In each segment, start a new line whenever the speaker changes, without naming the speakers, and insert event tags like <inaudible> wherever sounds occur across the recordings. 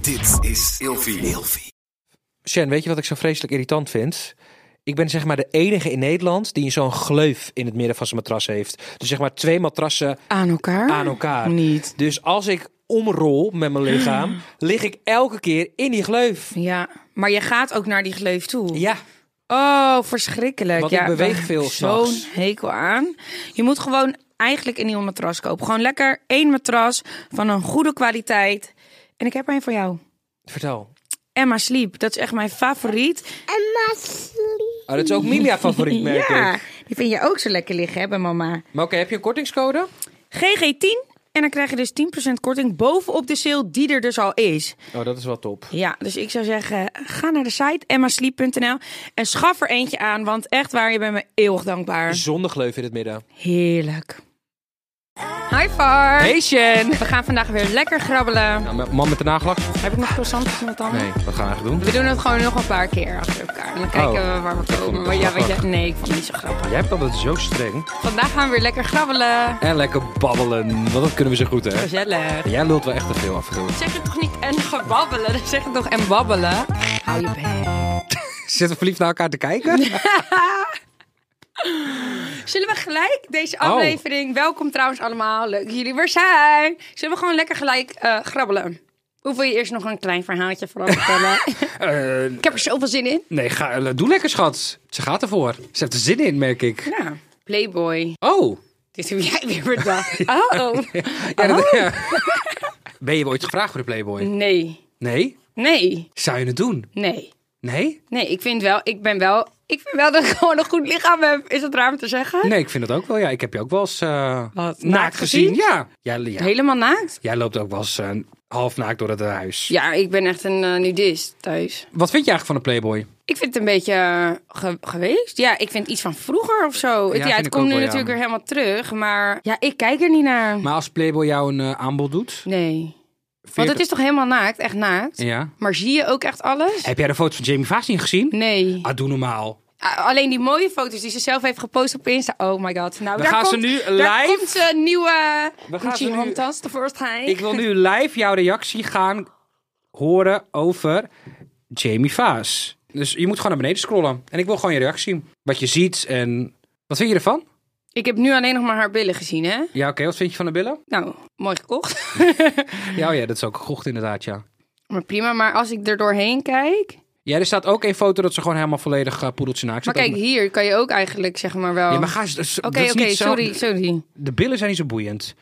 Dit is Ilfie.
Shen, weet je wat ik zo vreselijk irritant vind? Ik ben zeg maar de enige in Nederland die zo'n gleuf in het midden van zijn matras heeft. Dus zeg maar twee matrassen
Aan elkaar?
aan elkaar.
Ah, Niet. Ah.
Dus als ik omrol met mijn lichaam, lig ik elke keer in die gleuf.
Ja, maar je gaat ook naar die gleuf toe.
Ja,
Oh, verschrikkelijk.
Want
ja,
ik beweeg
daar
veel
heb ik Zo'n
s'nachts.
hekel aan. Je moet gewoon eigenlijk een nieuw matras kopen. Gewoon lekker één matras van een goede kwaliteit. En ik heb er een voor jou.
vertel.
Emma Sleep, dat is echt mijn favoriet.
Emma Slee.
Ah, dat is ook Milia
<laughs>
favoriet, merk
ja,
ik.
die vind je ook zo lekker liggen, hè, bij mama.
Maar oké, heb je een kortingscode?
GG10. En dan krijg je dus 10% korting bovenop de sale die er dus al is.
Oh, dat is wel top.
Ja, dus ik zou zeggen, ga naar de site emmasleep.nl en schaf er eentje aan, want echt waar, je bent me eeuwig dankbaar.
Zonder gleuf in het midden.
Heerlijk. Hi Far.
Hey Shen!
We gaan vandaag weer lekker grabbelen.
Nou, man met de nagelak?
Heb ik nog croissantjes met tanden?
Nee, wat gaan we eigenlijk doen?
We doen het gewoon nog een paar keer achter elkaar. En dan kijken
Oh.
we waar we komen.
het
Maar ja,
grappig.
weet je, nee, ik vond het niet zo grappig.
Jij hebt altijd zo streng.
Vandaag gaan we weer lekker grabbelen.
En lekker babbelen, want dat kunnen we zo goed, hè?
Gezellig.
Jij lult wel echt te veel af en toe.
Zeg het toch niet en gebabbelen, dan zeg het toch en babbelen. Hou je bek.
Zitten we verliefd naar elkaar te kijken?
Zullen we gelijk deze aflevering, welkom trouwens allemaal, leuk dat jullie weer zijn. Zullen we gewoon lekker gelijk eh, grabbelen? Of wil je eerst nog een klein verhaaltje vooraf vertellen?
Eh,
ik heb er zoveel zin in.
nee, ga, eh, doe lekker, schat. Ze gaat ervoor. Ze heeft er zin in, merk ik.
Nou, Playboy.
Oh.
Dit heb jij weer bedacht. Oh.
Ja, dat- <laughs> ja. Ben je ooit gevraagd voor de Playboy?
Nee.
Nee?
Nee.
Zou je het doen?
Nee.
Nee?
Nee, ik vind wel, ik ben wel, ik vind wel dat ik gewoon een goed lichaam heb. Is dat raar om te zeggen?
Nee, ik vind dat ook wel. Ja, ik heb je ook wel eens eh,
Wat,
naakt
naakt
gezien.
gezien?
Ja. Jij, ja.
Helemaal naakt?
Jij loopt ook wel eens eh, half naakt door het huis.
Ja, ik ben echt een eh, nudist thuis.
Wat vind je eigenlijk van de Playboy?
Ik vind het een beetje eh, ge- geweest. Ja, ik vind iets van vroeger of zo. Het-
Ja,
Ja,
vind
het
ik
komt
ook
nu
wel, ja.
natuurlijk weer helemaal terug. Maar ja, ik kijk er niet naar.
Maar als Playboy jou een eh, aanbod doet?
Nee. Want het is toch helemaal naakt? Echt naakt?
Ja.
Maar zie je ook echt alles?
Heb jij de foto's van Jamie Vaas gezien?
Nee.
Ah, doe normaal.
A- Alleen die mooie foto's die ze zelf heeft gepost op Insta. Oh my god. Nou,
We
daar
gaan ze
komt,
nu
Daar
live-
komt een nieuwe
We gaan ze
Gucci
nu-
handtas tevoorschijn.
Ik wil nu live jouw reactie gaan horen over Jamie Vaas. Dus je moet gewoon naar beneden scrollen. En ik wil gewoon je reactie. Wat je ziet en... Wat vind je ervan?
Ik heb nu alleen nog maar haar billen gezien, hè?
Ja, oké. Wat vind je van de billen?
Nou, mooi gekocht. <laughs>
Ja, oh ja, dat is ook gegocht inderdaad, ja.
maar prima. Maar als ik er doorheen kijk...
Ja, er staat ook een foto dat ze gewoon helemaal volledig eh, poedeltje naakt
Maar
zit.
kijk,
Ook-
hier kan je ook eigenlijk zeg maar wel...
Ja, maar ga eens... dat is-
Oké,
dat is
oké,
niet zo-
sorry, sorry.
De billen zijn niet zo boeiend.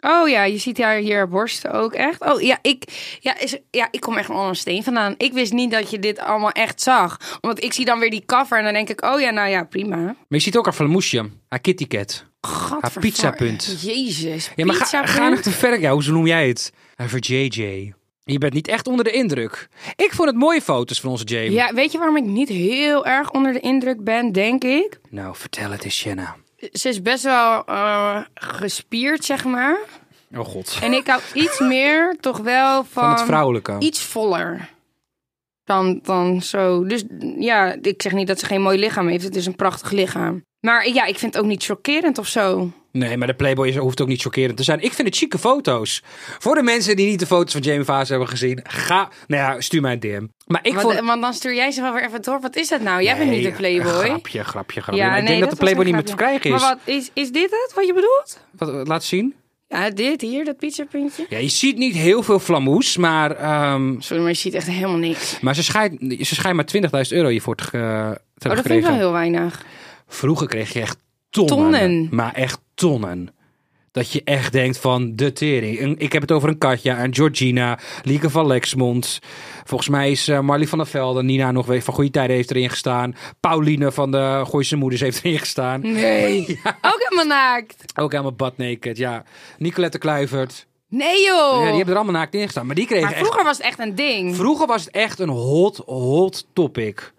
Oh ja, je ziet haar hier haar borsten ook echt. Oh ja, ik, ja, is, ja, ik kom echt allemaal een steen vandaan. Ik wist niet dat je dit allemaal echt zag. Want ik zie dan weer die cover en dan denk ik, oh ja, nou ja, prima.
Maar je ziet ook haar flamoesje. Haar kittycat.
Gadvervar-
pizzapunt.
Jezus,
Ja, maar ga,
pizzapunt.
ga nog te ver. Ja, hoe noem jij het? Hij voor JJ. Je bent niet echt onder de indruk. Ik vond het mooie foto's van onze Jamie.
Ja, weet je waarom ik niet heel erg onder de indruk ben, denk ik?
Nou, vertel het eens, Jenna.
Ze is best wel eh, gespierd, zeg maar.
Oh god.
En ik hou
<laughs>
iets meer toch wel van...
Van het vrouwelijke.
iets voller dan, dan zo. Dus ja, ik zeg niet dat ze geen mooi lichaam heeft. Het is een prachtig lichaam. Maar ja, ik vind het ook niet chockerend of zo.
Nee, maar de Playboy is- hoeft ook niet chockerend te zijn. Ik vind het chique foto's. Voor de mensen die niet de foto's van Jamie Vaas hebben gezien, ga... Nou ja, stuur mij een DM. Maar ik
Want,
vond...
want dan stuur jij ze wel weer even door. Wat is dat nou? Jij bent niet de
Nee,
playboy.
Grapje, grapje, grapje. Maar ik denk dat, de
was
Playboy niet
een
meer te
grapje.
krijgen is.
Maar wat, is, is dit het wat je bedoelt?
Wat, wat- laat zien.
Ja, dit hier, dat pizzapuntje.
Ja, je ziet niet heel veel flamoes, maar, ehm,
Sorry, maar je ziet echt helemaal niks.
maar ze schijnt ze schijnt maar 20.000 euro hiervoor te, ge- te
Oh,
hebben
dat vind ik wel
gekregen.
heel weinig.
Vroeger kreeg je echt tonnen,
Tonnen.
Maar echt tonnen. Dat je echt denkt van de tering. En Ik heb het over een Katja, een Georgina, Lieke van Lexmond. Volgens mij is eh, Marley van der Velde, Nina nog weer van Goede Tijden heeft erin gestaan. Pauline van de Gooise Moeders heeft erin gestaan.
Mm. Nee. <laughs> Ook helemaal naakt.
Ook helemaal badnaked, ja. Nicolette Kluivert.
Nee,
Ja,
joh.
die hebben er allemaal naakt in gestaan. Maar die kregen
Oh. maar
echt...
vroeger was het echt een ding.
Vroeger was het echt een hot, hot topic.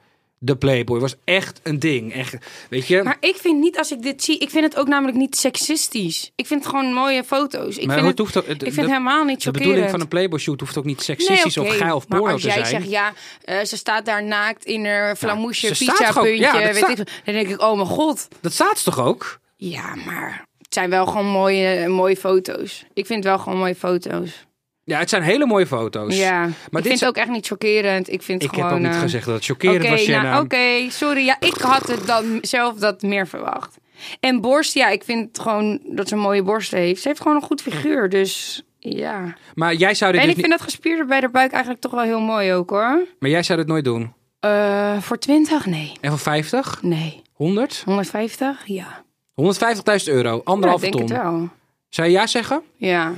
De Playboy was echt een ding. Echt, weet je...
Maar ik vind niet als ik dit zie, ik vind het ook namelijk niet seksistisch. Ik vind het gewoon mooie foto's. Ik
Maar
vind
het hoeft ook- het-
ik vind
de-
het helemaal niet
De
chockerend.
bedoeling van een Playboy shoot hoeft ook niet seksistisch
Nee,
of
oké.
geil of
Maar
porno
als
te
jij
zijn.
zegt, ja, eh, ze staat daar naakt in haar flamoesje,
ze staat
pizzapuntje,
gewoon- ja, dat
weet
staat-
ik veel. Dan denk ik, oh mijn god.
Dat staat ze toch ook?
Ja, maar het zijn wel gewoon mooie, mooie foto's. Ik vind wel gewoon mooie foto's.
Ja, het zijn hele mooie foto's.
Ja, ik
dit
vind het
zijn-
ook echt niet chockerend. Ik vind
Ik
gewoon...
heb ook niet
eh,
gezegd dat het chockerend
Oké,
was, Jenna.
nou, oké, sorry. Ja, ik had het dan zelf dat meer verwacht. En borst, ja, ik vind gewoon dat ze een mooie borst heeft. Ze heeft gewoon een goed figuur, dus ja.
Maar jij zou dit
En
dus
ik
niet-
vind dat gespierde bij de buik eigenlijk toch wel heel mooi ook, hoor.
Maar jij zou dit nooit doen.
Eh, voor 20? Nee.
En voor 50?
Nee.
100?
150? Ja.
150.000 euro.
Ja, ik
Anderhalve
denk
ton.
het wel.
Zou je ja zeggen?
Ja.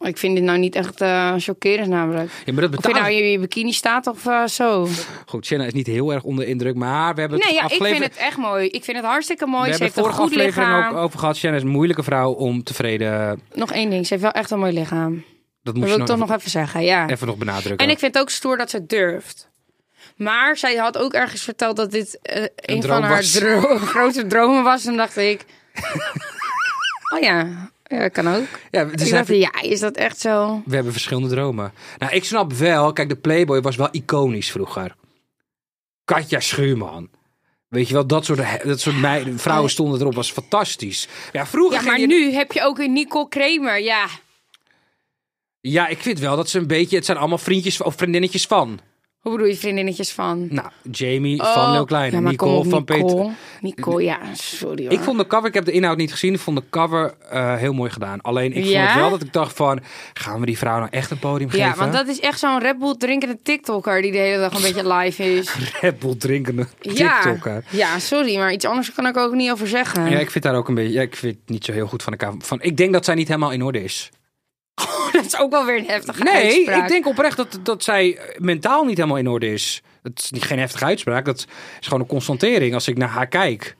Ik vind dit nou niet echt eh, chockerend namelijk.
Ja, maar dat
Of je
betaalt...
nou in je bikini staat of eh, zo.
Goed, Shanna is niet heel erg onder indruk, maar we hebben het
Nee, ja, ik
afgeleverd...
vind het echt mooi. Ik vind het hartstikke
we
mooi. Ze
hebben
heeft een
vorige
goed
aflevering
lichaam.
ook over gehad. Shanna is een moeilijke vrouw om tevreden...
Nog één ding, ze heeft wel echt een mooi lichaam.
Dat moet
Dat
je
wil ik
nog
toch
even,
nog even zeggen, ja.
even nog benadrukken.
En ik vind het ook stoer dat ze het durft. Maar zij had ook ergens verteld dat dit eh, een,
droom
van haar
was.
dro- <laughs> grote dromen was. En dacht ik, oh ja, ja kan ook.
Ja, dus
ik
heb
dacht,
je-
ja, is dat echt zo?
We hebben verschillende dromen. Nou, ik snap wel. Kijk, de Playboy was wel iconisch vroeger. Katja Schuurman. Weet je wel, dat soort, he- dat soort meiden, vrouwen stonden erop. was fantastisch. Ja, vroeger
Ja,
ging
maar
je-
nu heb je ook een Nicole Kramer, ja.
Ja, ik vind wel dat ze een beetje... Het zijn allemaal vriendjes of vriendinnetjes van.
Hoe bedoel je vriendinnetjes van?
Nou, Jamie van Leo Kleine.
Oh, Ja, maar kom
Nicole
op,
van
Nicole.
Peter.
Nicole, ja, sorry hoor.
Ik vond de cover, ik heb de inhoud niet gezien, ik vond de cover eh, heel mooi gedaan. Alleen ik vond
Ja?
het wel dat ik dacht van, gaan we die vrouw nou echt een podium geven?
ja, want dat is echt zo'n Red Bull drinkende TikToker die de hele dag een beetje live is.
<laughs> Red Bull drinkende
Ja,
TikToker.
ja, sorry, maar iets anders kan ik er ook niet over zeggen. <laughs>
Ja, ik vind daar ook een beetje. Ja, ik vind het niet zo heel goed van elkaar. Van, ik denk dat zij niet helemaal in orde is.
Dat is ook wel weer een heftige
Nee,
uitspraak.
ik denk oprecht dat, dat zij eh, mentaal niet helemaal in orde is. Het is niet, geen heftige uitspraak. Dat is gewoon een constatering als ik naar haar kijk.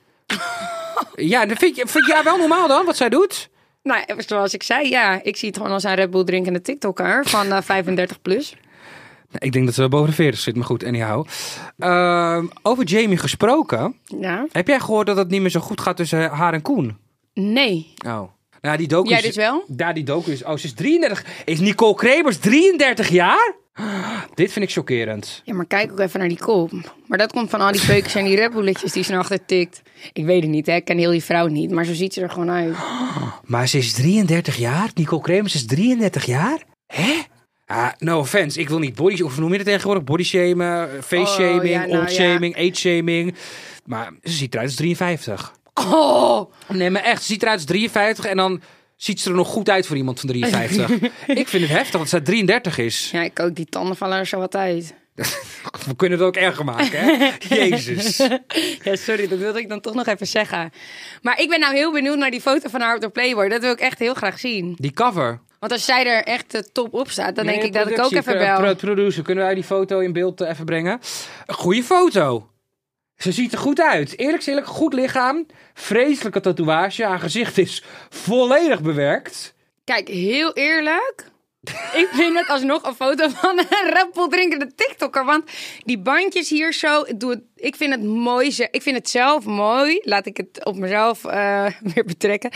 ja, dat vind, je, vind jij wel normaal dan wat zij doet?
Nou, zoals ik zei, ja, ik zie het gewoon als een Red Bull drinkende TikToker van eh, 35 plus.
Nee, Nou, ik denk dat ze wel boven de 40 zit, maar goed, anyhow. Ehm, over Jamie gesproken.
Ja.
Heb jij gehoord dat het niet meer zo goed gaat tussen haar en Koen?
Nee.
Oh. Nou, die docu
Jij
is-
dus wel?
Ja, die docu is... Oh, ze is 33. Is Nicole Krebers 33 jaar? Dit vind ik chockerend.
Ja, maar kijk ook even naar die kop. Maar dat komt van al die peukjes en die Red Bulletjes die ze naar achter tikt. Ik weet het niet, hè. Ik ken heel die vrouw niet, maar zo ziet ze er gewoon uit.
Maar ze is 33 jaar? Nicole Krebers is 33 jaar? Hè? Ah, no offense. Ik wil niet body... Of hoe noem je dat tegenwoordig? Body shamen, face shaming,
Oh, ja, nou
old shaming, age shaming. Maar ze ziet eruit als 53.
Oh!
Nee, maar echt. Ze ziet eruit als 53 en dan ziet ze er nog goed uit voor iemand van
<laughs>
53. ik vind het heftig dat zij 33 is.
Ja, ik ook. Die tanden vallen er zo wat uit.
We kunnen het ook erger maken,
<laughs>
hè? Jezus.
Ja, sorry, dat wilde ik dan toch nog even zeggen. Maar ik ben nou heel benieuwd naar die foto van haar op de Playboy. Dat wil ik echt heel graag zien.
Die cover.
Want als zij er echt eh, top op staat, dan denk
Nee,
ik dat ik ook eh,
productie,
even
pro-
bel.
pro- producer, kunnen wij die foto in beeld eh, even brengen? Een goede foto. Ze ziet er goed uit. Eerlijk eerlijk, goed lichaam. Vreselijke tatoeage. Haar gezicht is volledig bewerkt.
Kijk, heel <laughs> eerlijk. ik vind het alsnog een foto van een rappel drinkende TikToker. Want die bandjes hier zo. Ik, doe het, ik vind het mooi. ze- Ik vind het zelf mooi. Laat ik het op mezelf eh, <laughs> weer betrekken.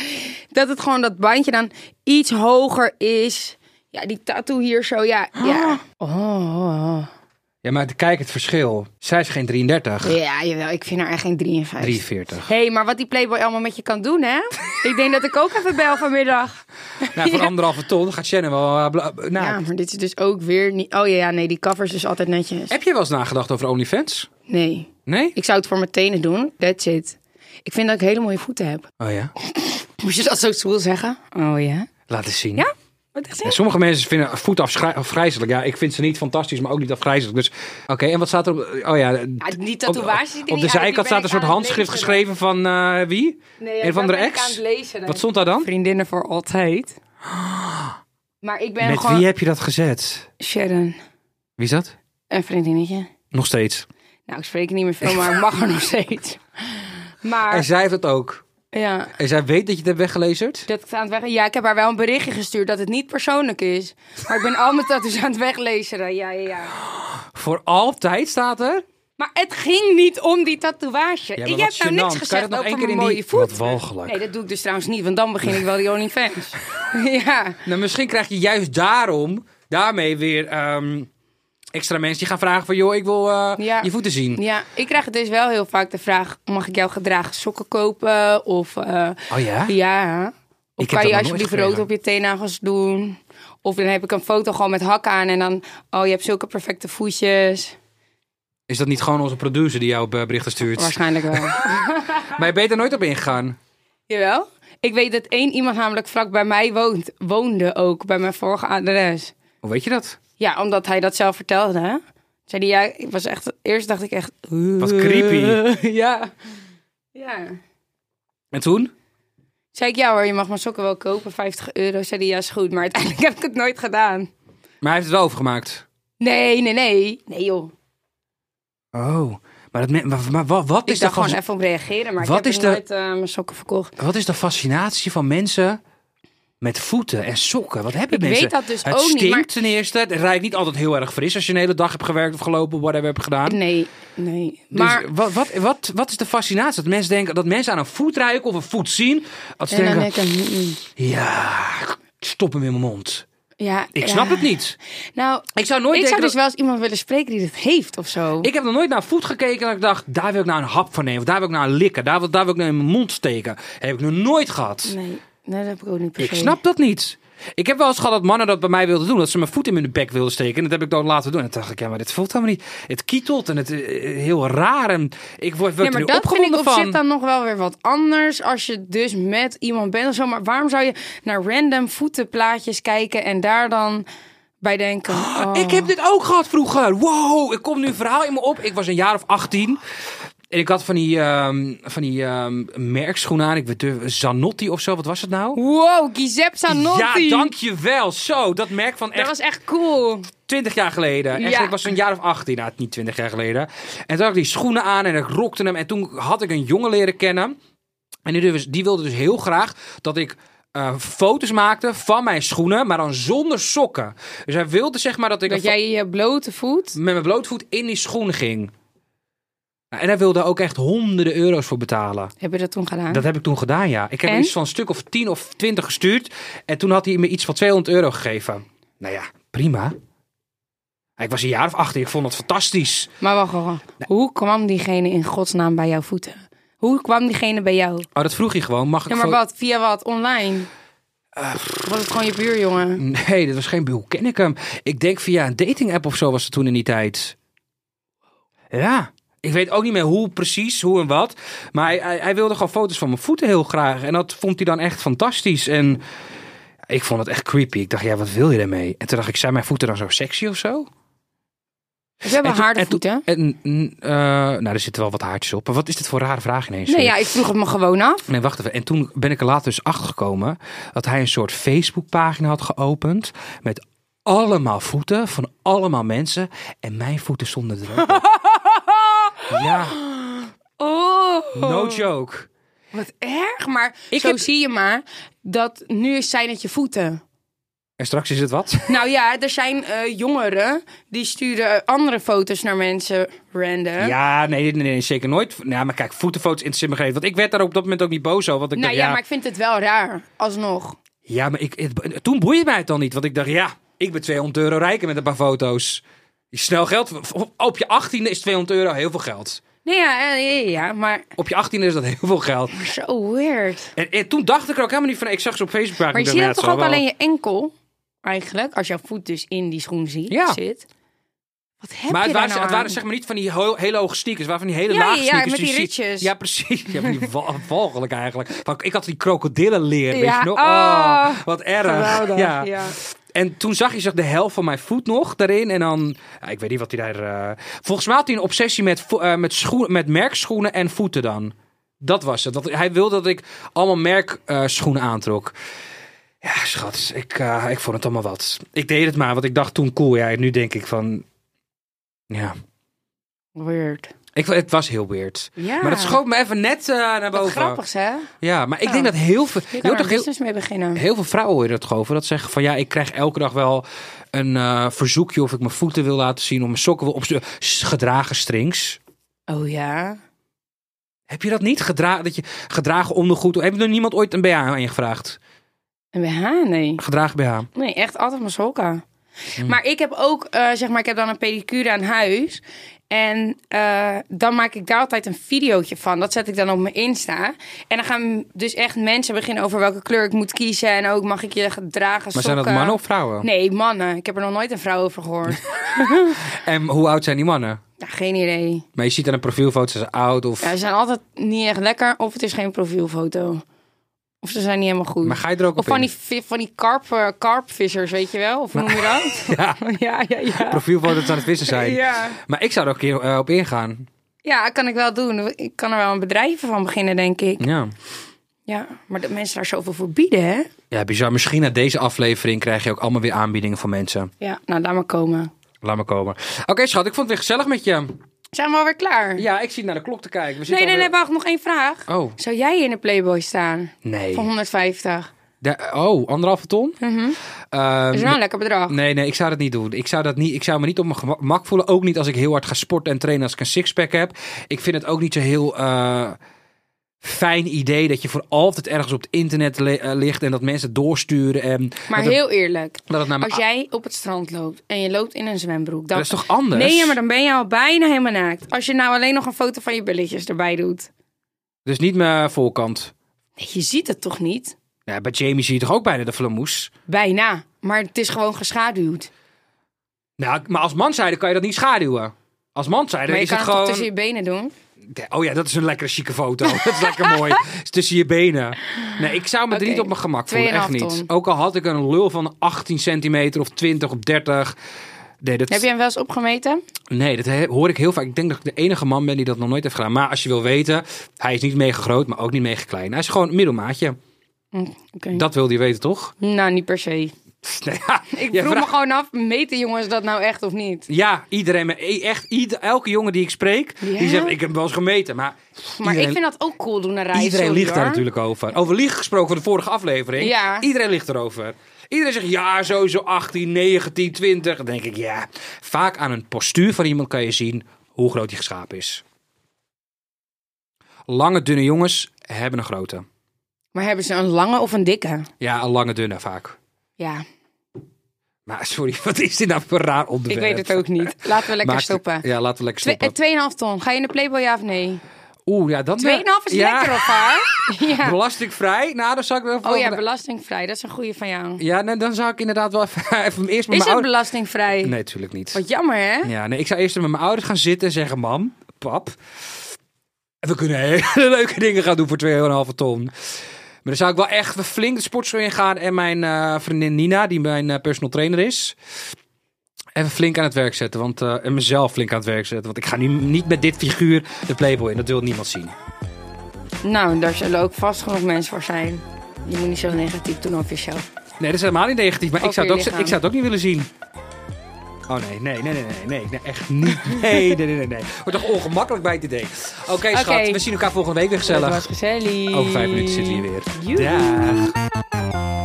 Dat het gewoon dat bandje dan iets hoger is. Ja, die tattoo hier zo. Ja. ja. Oh.
Ja, maar kijk het verschil. Zij is geen 33.
Ja, jawel. Ik vind haar echt geen 53. <laughs>
43.
Hé, hey, maar wat die Playboy allemaal met je kan <laughs> doen, hè? ik denk dat ik ook even bel vanmiddag.
Nou, voor anderhalve ton gaat Shannon wel... eh, bla- bla- nou,
Ja, maar dit is dus ook weer niet... Oh ja, ja, nee, die cover is dus altijd netjes.
Heb je wel eens nagedacht over OnlyFans?
Nee,
Nee?
ik zou het voor mijn tenen doen. That's it. Ik vind dat ik hele mooie voeten heb.
Oh ja?
Moet je dat zo zwoel zeggen? Oh ja.
Laat eens zien.
Ja? Wat echt
Ja, sommige mensen vinden voet afschrij- afgrijzelijk. Ja, ik vind ze niet fantastisch, maar ook niet afgrijzelijk. Dus oké, en wat staat er op... Oh ja,
Ja, die tatoeage ziet er
op,
niet
de
uit, die ben
zijkant staat
ik
een soort
aan het
handschrift
lezen.
geschreven van eh, wie?
Nee,
een van de
dat ben ik aan
ex?
het lezen, hè.
Wat stond daar dan?
Vriendinnen voor altijd. Maar ik ben
Met
gewoon...
wie heb je dat gezet?
Sharon,
Wie is dat?
een vriendinnetje.
Nog steeds.
Nou, ik spreek niet meer veel,
<laughs>
maar ik mag er nog steeds.
En
Maar,
zij heeft het ook.
ja...
En zij weet dat je het hebt weggelezerd?
Dat ik het aan het weg... Ja, ik heb haar wel een berichtje gestuurd dat het niet persoonlijk is. Maar ik ben al mijn tattoos aan het weglezen. Ja, ja, ja.
Voor altijd staat er?
Maar het ging niet om die tatoeage.
maar
ik
wat
heb nou niks
gênant.
gezegd
Kan je dat nog
over
één keer
mijn
in
mooie
die-
voet.
Wat walgelijk.
Nee, dat doe ik dus trouwens niet, want dan begin ik wel die OnlyFans. <laughs> ja.
Nou, misschien krijg je juist daarom, daarmee weer ehm, extra mensen die gaan vragen van... joh, ik wil eh,
Ja.
je voeten zien.
ja, ik krijg dus wel heel vaak de vraag... mag ik jou gedragen sokken kopen? Of eh,
Oh ja?
ja... Of
Ik heb dat nog
kan je
nooit
alsjeblieft
gekregen.
rood op je teennagels doen? Of dan heb ik een foto gewoon met hak aan en dan... Oh, je hebt zulke perfecte voetjes.
Is dat niet gewoon onze producer die jou eh, berichten stuurt?
Waarschijnlijk wel.
Maar je bent er nooit op ingegaan.
Jawel. Ik weet dat één iemand namelijk vlak bij mij woont, woonde ook, bij mijn vorige adres.
Hoe weet je dat?
Ja, omdat hij dat zelf vertelde. hè. Zei hij, ja, ik was echt, eerst dacht ik echt...
Wat creepy.
<laughs> ja. Ja.
En toen?
Zei ik, ja hoor, je mag mijn sokken wel kopen, 50 euro. Zei hij, ja is goed, maar uiteindelijk <laughs> heb ik het nooit gedaan.
Maar hij heeft het wel overgemaakt.
Nee, nee, nee. Nee joh.
Oh. Maar, dat men- maar, maar wat, wat
Ik
is
dacht
dat
gewoon even op reageren, maar
Wat
ik
is
heb
de-
nog nooit eh, mijn sokken verkocht.
Wat is de fascinatie van mensen met voeten en sokken? Wat hebben
Ik
mensen?
weet dat dus
het
ook niet,
stinkt
maar-
ten eerste. Het ruikt niet altijd heel erg fris als je een hele dag hebt gewerkt of gelopen, whatever hebt gedaan.
Nee, nee.
Dus
Maar
wat, wat, wat, wat is de fascinatie? Dat mensen denken dat mensen aan een voet ruiken of een voet zien. Dat ze
en dan
denken,
denk ik, mm, mm.
ja, stop hem in mijn mond.
ja,
Ik
ja.
snap het niet.
Nou,
Ik zou nooit
ik
denken
zou dus
dat-
wel eens iemand willen spreken die dat heeft of zo.
Ik heb nog nooit naar voet gekeken en ik dacht, daar wil ik nou een hap van nemen. Of daar wil ik nou een likken. Daar wil, daar wil ik nou in mijn mond steken. heb ik nog nooit gehad.
Nee, nee, dat heb ik ook niet per
Ik
se.
snap dat niet. Ik heb wel eens gehad dat mannen dat bij mij wilden doen. Dat ze mijn voet in mijn bek wilden steken. En dat heb ik dan laten doen. En toen dacht ik, ja, maar dit voelt helemaal niet. Het kietelt en het eh, heel raar. En ik word, word
Ja, maar
er
dat vind ik
opgewonden
op zich
van.
dan nog wel weer wat anders. Als je dus met iemand bent of zo. Maar waarom zou je naar random voetenplaatjes kijken en daar dan bij denken... oh.
Ah, Ik heb dit ook gehad vroeger. Wow, ik kom nu een verhaal in me op. Ik was een jaar of 18. En ik had van die, ehm van die ehm merkschoenen aan. Ik weet durf- Zanotti of zo. Wat was het nou?
Wow, Giuseppe Zanotti.
Ja, dankjewel. Zo, dat merk van
Dat
echt
was echt cool.
20 jaar geleden. Echt,
Ja.
ik was een jaar of 18, nou, niet 20 jaar geleden. En toen had ik die schoenen aan en ik rokte hem. En toen had ik een jongen leren kennen. En die, dus- die wilde dus heel graag dat ik eh, foto's maakte van mijn schoenen, maar dan zonder sokken. Dus hij wilde zeg maar dat ik
Dat
een fo-
jij je blote voet...
met mijn blootvoet in die schoenen ging. Nou, En hij wilde ook echt honderden euro's voor betalen.
Heb je dat toen gedaan?
Dat heb ik toen gedaan, ja. Ik heb
En?
iets van een stuk of 10 of 20 gestuurd. En toen had hij me iets van 200 euro gegeven. Nou ja, prima. Ik was een jaar of 18. Ik vond het fantastisch.
Maar wacht, wacht, wacht. Hoe kwam diegene in godsnaam bij jouw voeten? Hoe kwam diegene bij jou?
Oh, dat vroeg hij gewoon. Mag ik
Ja, maar
gewoon- Ah.
wat? Via wat? Online? Of was het gewoon je buurjongen?
Nee, dat was geen... Hoe ken ik hem? Ik denk via een dating app of zo was het toen in die tijd. Ja. Ik weet ook niet meer hoe precies, hoe en wat. Maar hij, hij, hij wilde gewoon foto's van mijn voeten heel graag. En dat vond hij dan echt fantastisch. En ik vond het echt creepy. Ik dacht, ja, wat wil je daarmee? En toen dacht ik, zijn mijn voeten dan zo sexy of zo?
Ze hebben
En toen-
harde
en toen-
voeten.
En, mm, eh, nou, er zitten wel wat haartjes op. Maar wat is dit voor een rare vraag ineens?
Nee, ja, ik vroeg het me gewoon
<laughs>
af.
Nee, wacht even. En toen ben ik er later dus achter gekomen dat hij een soort Facebookpagina had geopend met allemaal voeten van allemaal mensen en mijn voeten stonden er ook.
<laughs>
op. Ah! ja,
Oh,
no joke.
wat erg. Maar
Ik
zo
heb-
zie je maar dat nu zijn het je voeten.
En straks is het wat?
Nou ja, er zijn eh, jongeren die sturen eh, andere foto's naar mensen random.
Ja, nee, nee, nee, zeker nooit. Ja, Nou, maar kijk, voetenfoto's in me gegeven. Want ik werd daar op dat moment ook niet boos over. Want ik
nou
dacht,
ja,
ja,
maar ik vind het wel raar, alsnog.
ja, maar ik, het- toen boeide mij het dan niet. Want ik dacht, ja, ik ben 200 euro rijker met een paar foto's. Snel geld. Op je 18e is 200 euro heel veel geld.
Nee, Nou ja, ja, ja, ja, maar
Op je 18e is dat heel veel geld.
zo weird.
En, en toen dacht ik er ook helemaal niet van. Ik nou zag ze op Facebook.
Maar je ziet dat toch ook alleen je enkel, eigenlijk? Als jouw voet dus in die schoen ziet,
Ja.
zit. Wat heb
Maar
je
het waren,
daar nou
het waren
aan?
zeg maar niet van die ho- hele hoge sneakers. Het waren van die hele
Ja,
lage
ja, ja,
sneakers.
met die
je ziet.
rietjes.
Ja, precies. Ja, van die wa- walgelijk eigenlijk. Van, ik had die krokodillenleer, weet
Ja,
je nog?
oh,
Oh, wat erg.
Geweldig,
ja.
ja.
En toen zag je zeg, de helft van mijn voet nog daarin. En dan, ja, ik weet niet wat hij daar... eh, volgens mij had hij een obsessie met, vo- eh, met, schoen, met merkschoenen en voeten dan. Dat was het. Dat, hij wilde dat ik allemaal merkschoenen aantrok. Ja, schat, ik, eh, ik vond het allemaal wat. Ik deed het maar, want ik dacht toen cool. Ja, en nu denk ik van... Ja,
Weird.
ik, het was heel weird.
Ja.
Maar dat schoot me even net eh, naar
Ah. Wat
boven.
grappigs, hè?
Ja, maar ik denk
Ja.
dat heel veel...
Je
Je
kan
hoort
er
toch
een
heel,
business mee beginnen.
heel veel vrouwen hoor je dat gewoon. Dat zeggen van ja, ik krijg elke dag wel een eh, verzoekje of ik mijn voeten wil laten zien. Of mijn sokken wil opsturen. S- Gedragen strings.
Oh ja.
Heb je dat niet? Gedra dat je, gedragen ondergoed. Heb je er niemand ooit een BH aan je gevraagd?
Een BH? Nee.
Gedragen BH.
Nee, echt altijd mijn sokken.
Hmm.
Maar ik heb ook, eh, zeg maar, ik heb dan een pedicure aan huis. En eh, dan maak ik daar altijd een videootje van. Dat zet ik dan op mijn Insta. En dan gaan dus echt mensen beginnen over welke kleur ik moet kiezen. En ook mag ik je dragen,
Maar zijn dat
sokken.
mannen of vrouwen?
Nee, mannen. Ik heb er nog nooit een vrouw
<laughs>
over gehoord.
En hoe oud zijn die mannen?
ja, geen idee.
Maar je ziet aan een profielfoto, ze zijn oud of...
Ja, ze zijn altijd niet echt lekker. Of het is geen profielfoto. Of ze zijn niet helemaal goed.
Maar ga je er ook
Of
op
van
in?
die, vi- van die karp, eh, karpvissers, weet je wel? Of hoe noem je dat?
<laughs> Ja,
<laughs> ja, ja, ja.
profielfoto's aan het vissen zijn.
<laughs> Ja.
Maar ik zou er ook een keer eh, op ingaan.
ja, kan ik wel doen. Ik kan er wel een bedrijf van beginnen, denk ik.
Ja.
Ja, maar dat mensen daar zoveel voor bieden, hè?
Ja, bizar. Misschien na deze aflevering krijg je ook allemaal weer aanbiedingen van mensen.
Ja, nou, laat maar komen.
Laat me komen. Oké, schat, ik vond het weer gezellig met je.
Zijn we alweer klaar?
Ja, ik zit naar de klok te kijken. We
nee,
zitten
nee, nee,
alweer-
wacht. Nog één vraag.
Oh,
Zou jij in de Playboy staan?
nee.
Voor 150.
Da- oh, anderhalve ton? Ehm,
Dat Mhm. is wel een lekker bedrag.
nee, nee, ik zou dat niet doen. Ik zou, dat niet, ik zou me niet op mijn gemak voelen. Ook niet als ik heel hard ga sporten en trainen als ik een sixpack heb. Ik vind het ook niet zo heel eh, fijn idee dat je voor altijd ergens op het internet le- eh, ligt en dat mensen het doorsturen. En
Maar
dat, het-
heel eerlijk.
dat het naar me
Als jij op het strand loopt en je loopt in een zwembroek, dan...
Dat is toch anders?
Nee, ja, maar dan ben je al bijna helemaal naakt. Als je nou alleen nog een foto van je billetjes erbij doet.
Dus niet mijn voorkant.
Nee, je ziet het toch niet?
Ja, bij Jamie zie je toch ook bijna de flamoes?
Bijna. Maar het is gewoon geschaduwd.
Nou, maar als manzijde kan je dat niet schaduwen. Als manzijde
maar je
is
kan
het
het
gewoon...
toch tussen je benen doen?
Oh ja, dat is een lekkere chique foto. <laughs> Dat is lekker mooi. Is tussen je benen. Nee, ik zou me er
Oké.
niet op mijn gemak voelen. Echt
2,5
niet.
ton.
Ook al had ik een lul van 18 centimeter of 20 of 30. Nee, dat,
Heb je hem wel eens opgemeten?
nee, dat he- hoor ik heel vaak. Ik denk dat ik de enige man ben die dat nog nooit heeft gedaan. Maar als je wil weten, hij is niet mega groot, maar ook niet mega klein. Hij is gewoon een middelmaatje.
Hm, Oké.
Dat wil je weten, toch? <laughs>
Nou, niet per se.
Nee, ja,
Ik
je
vroeg me
vraagt-
gewoon af, meten jongens dat nou echt of niet?
Ja, iedereen. maar e- Echt, ieder- elke jongen die ik spreek, die
Ja?
zegt, ik heb hem wel eens gemeten. Maar,
Maar
iedereen,
ik vind dat ook cool doen naar reizen.
iedereen liegt daar
hoor.
natuurlijk over. Over liegen gesproken van de vorige aflevering.
Ja.
Iedereen ligt erover. Iedereen zegt, ja, sowieso 18, 19, 20. Dan denk ik, ja. Vaak aan een postuur van iemand kan je zien hoe groot die geschapen is. Lange, dunne jongens hebben een grote.
Maar hebben ze een lange of een dikke?
Ja, een lange, dunne vaak.
Ja,
Maar <laughs> sorry, wat is dit nou voor raar
ik
onderwerp?
weet het ook niet. Laten we lekker
Maakt-
stoppen.
Ja, laten we lekker
Twee- eh,
stoppen.
2,5 ton. Ga je in de Playboy ja of nee? 2,5
Oeh, ja, dan... eh,
is
ja.
lekker of haar? <laughs>
<laughs>
Ja.
Belastingvrij? Nou, dan zou ik wel even
Oh ja,
over-
belastingvrij. Dat is een goede van jou.
Ja, nee, dan zou ik inderdaad wel <laughs> even, even eerst met
Is
mijn
het
ouders...
belastingvrij?
Nee, natuurlijk niet.
Wat jammer, hè?
Ja, nee, ik zou eerst met mijn ouders gaan zitten en zeggen... Mam, pap, we kunnen <laughs> hele leuke dingen gaan doen voor 2,5 ton. Maar dan zou ik wel echt flink de sportschool ingaan... en mijn eh, vriendin Nina, die mijn eh, personal trainer is... Even flink aan het werk zetten, want, eh, en mezelf flink aan het werk zetten. Want ik ga nu niet met dit figuur de Playboy in. Dat wil niemand zien.
Nou, daar zullen ook vast genoeg mensen voor zijn. Je moet niet zo negatief doen over jezelf.
Nee, dat is helemaal niet negatief. Maar ik
Ook
zou,
weer
het ook, ik zou
lichaam.
het ook niet willen zien. Oh nee, nee, nee, nee, nee, nee, nee echt
<laughs>
niet. Nee, nee, nee, nee, nee. Wordt toch ongemakkelijk bij het idee. Oké, schat, we zien elkaar volgende week weer
Dat was
gezellig.
gezellig.
Over vijf minuten zitten we hier weer.
Joehoe.
Dag.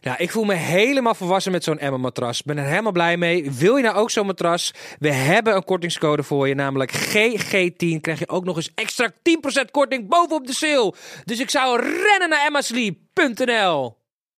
Nou, ik voel me helemaal volwassen met zo'n Emma-matras. Ben er helemaal blij mee. Wil je nou ook zo'n matras? We hebben een kortingscode voor je, namelijk GG10. Krijg je ook nog eens extra 10% korting bovenop de sale. Dus ik zou rennen naar emmasleep.nl.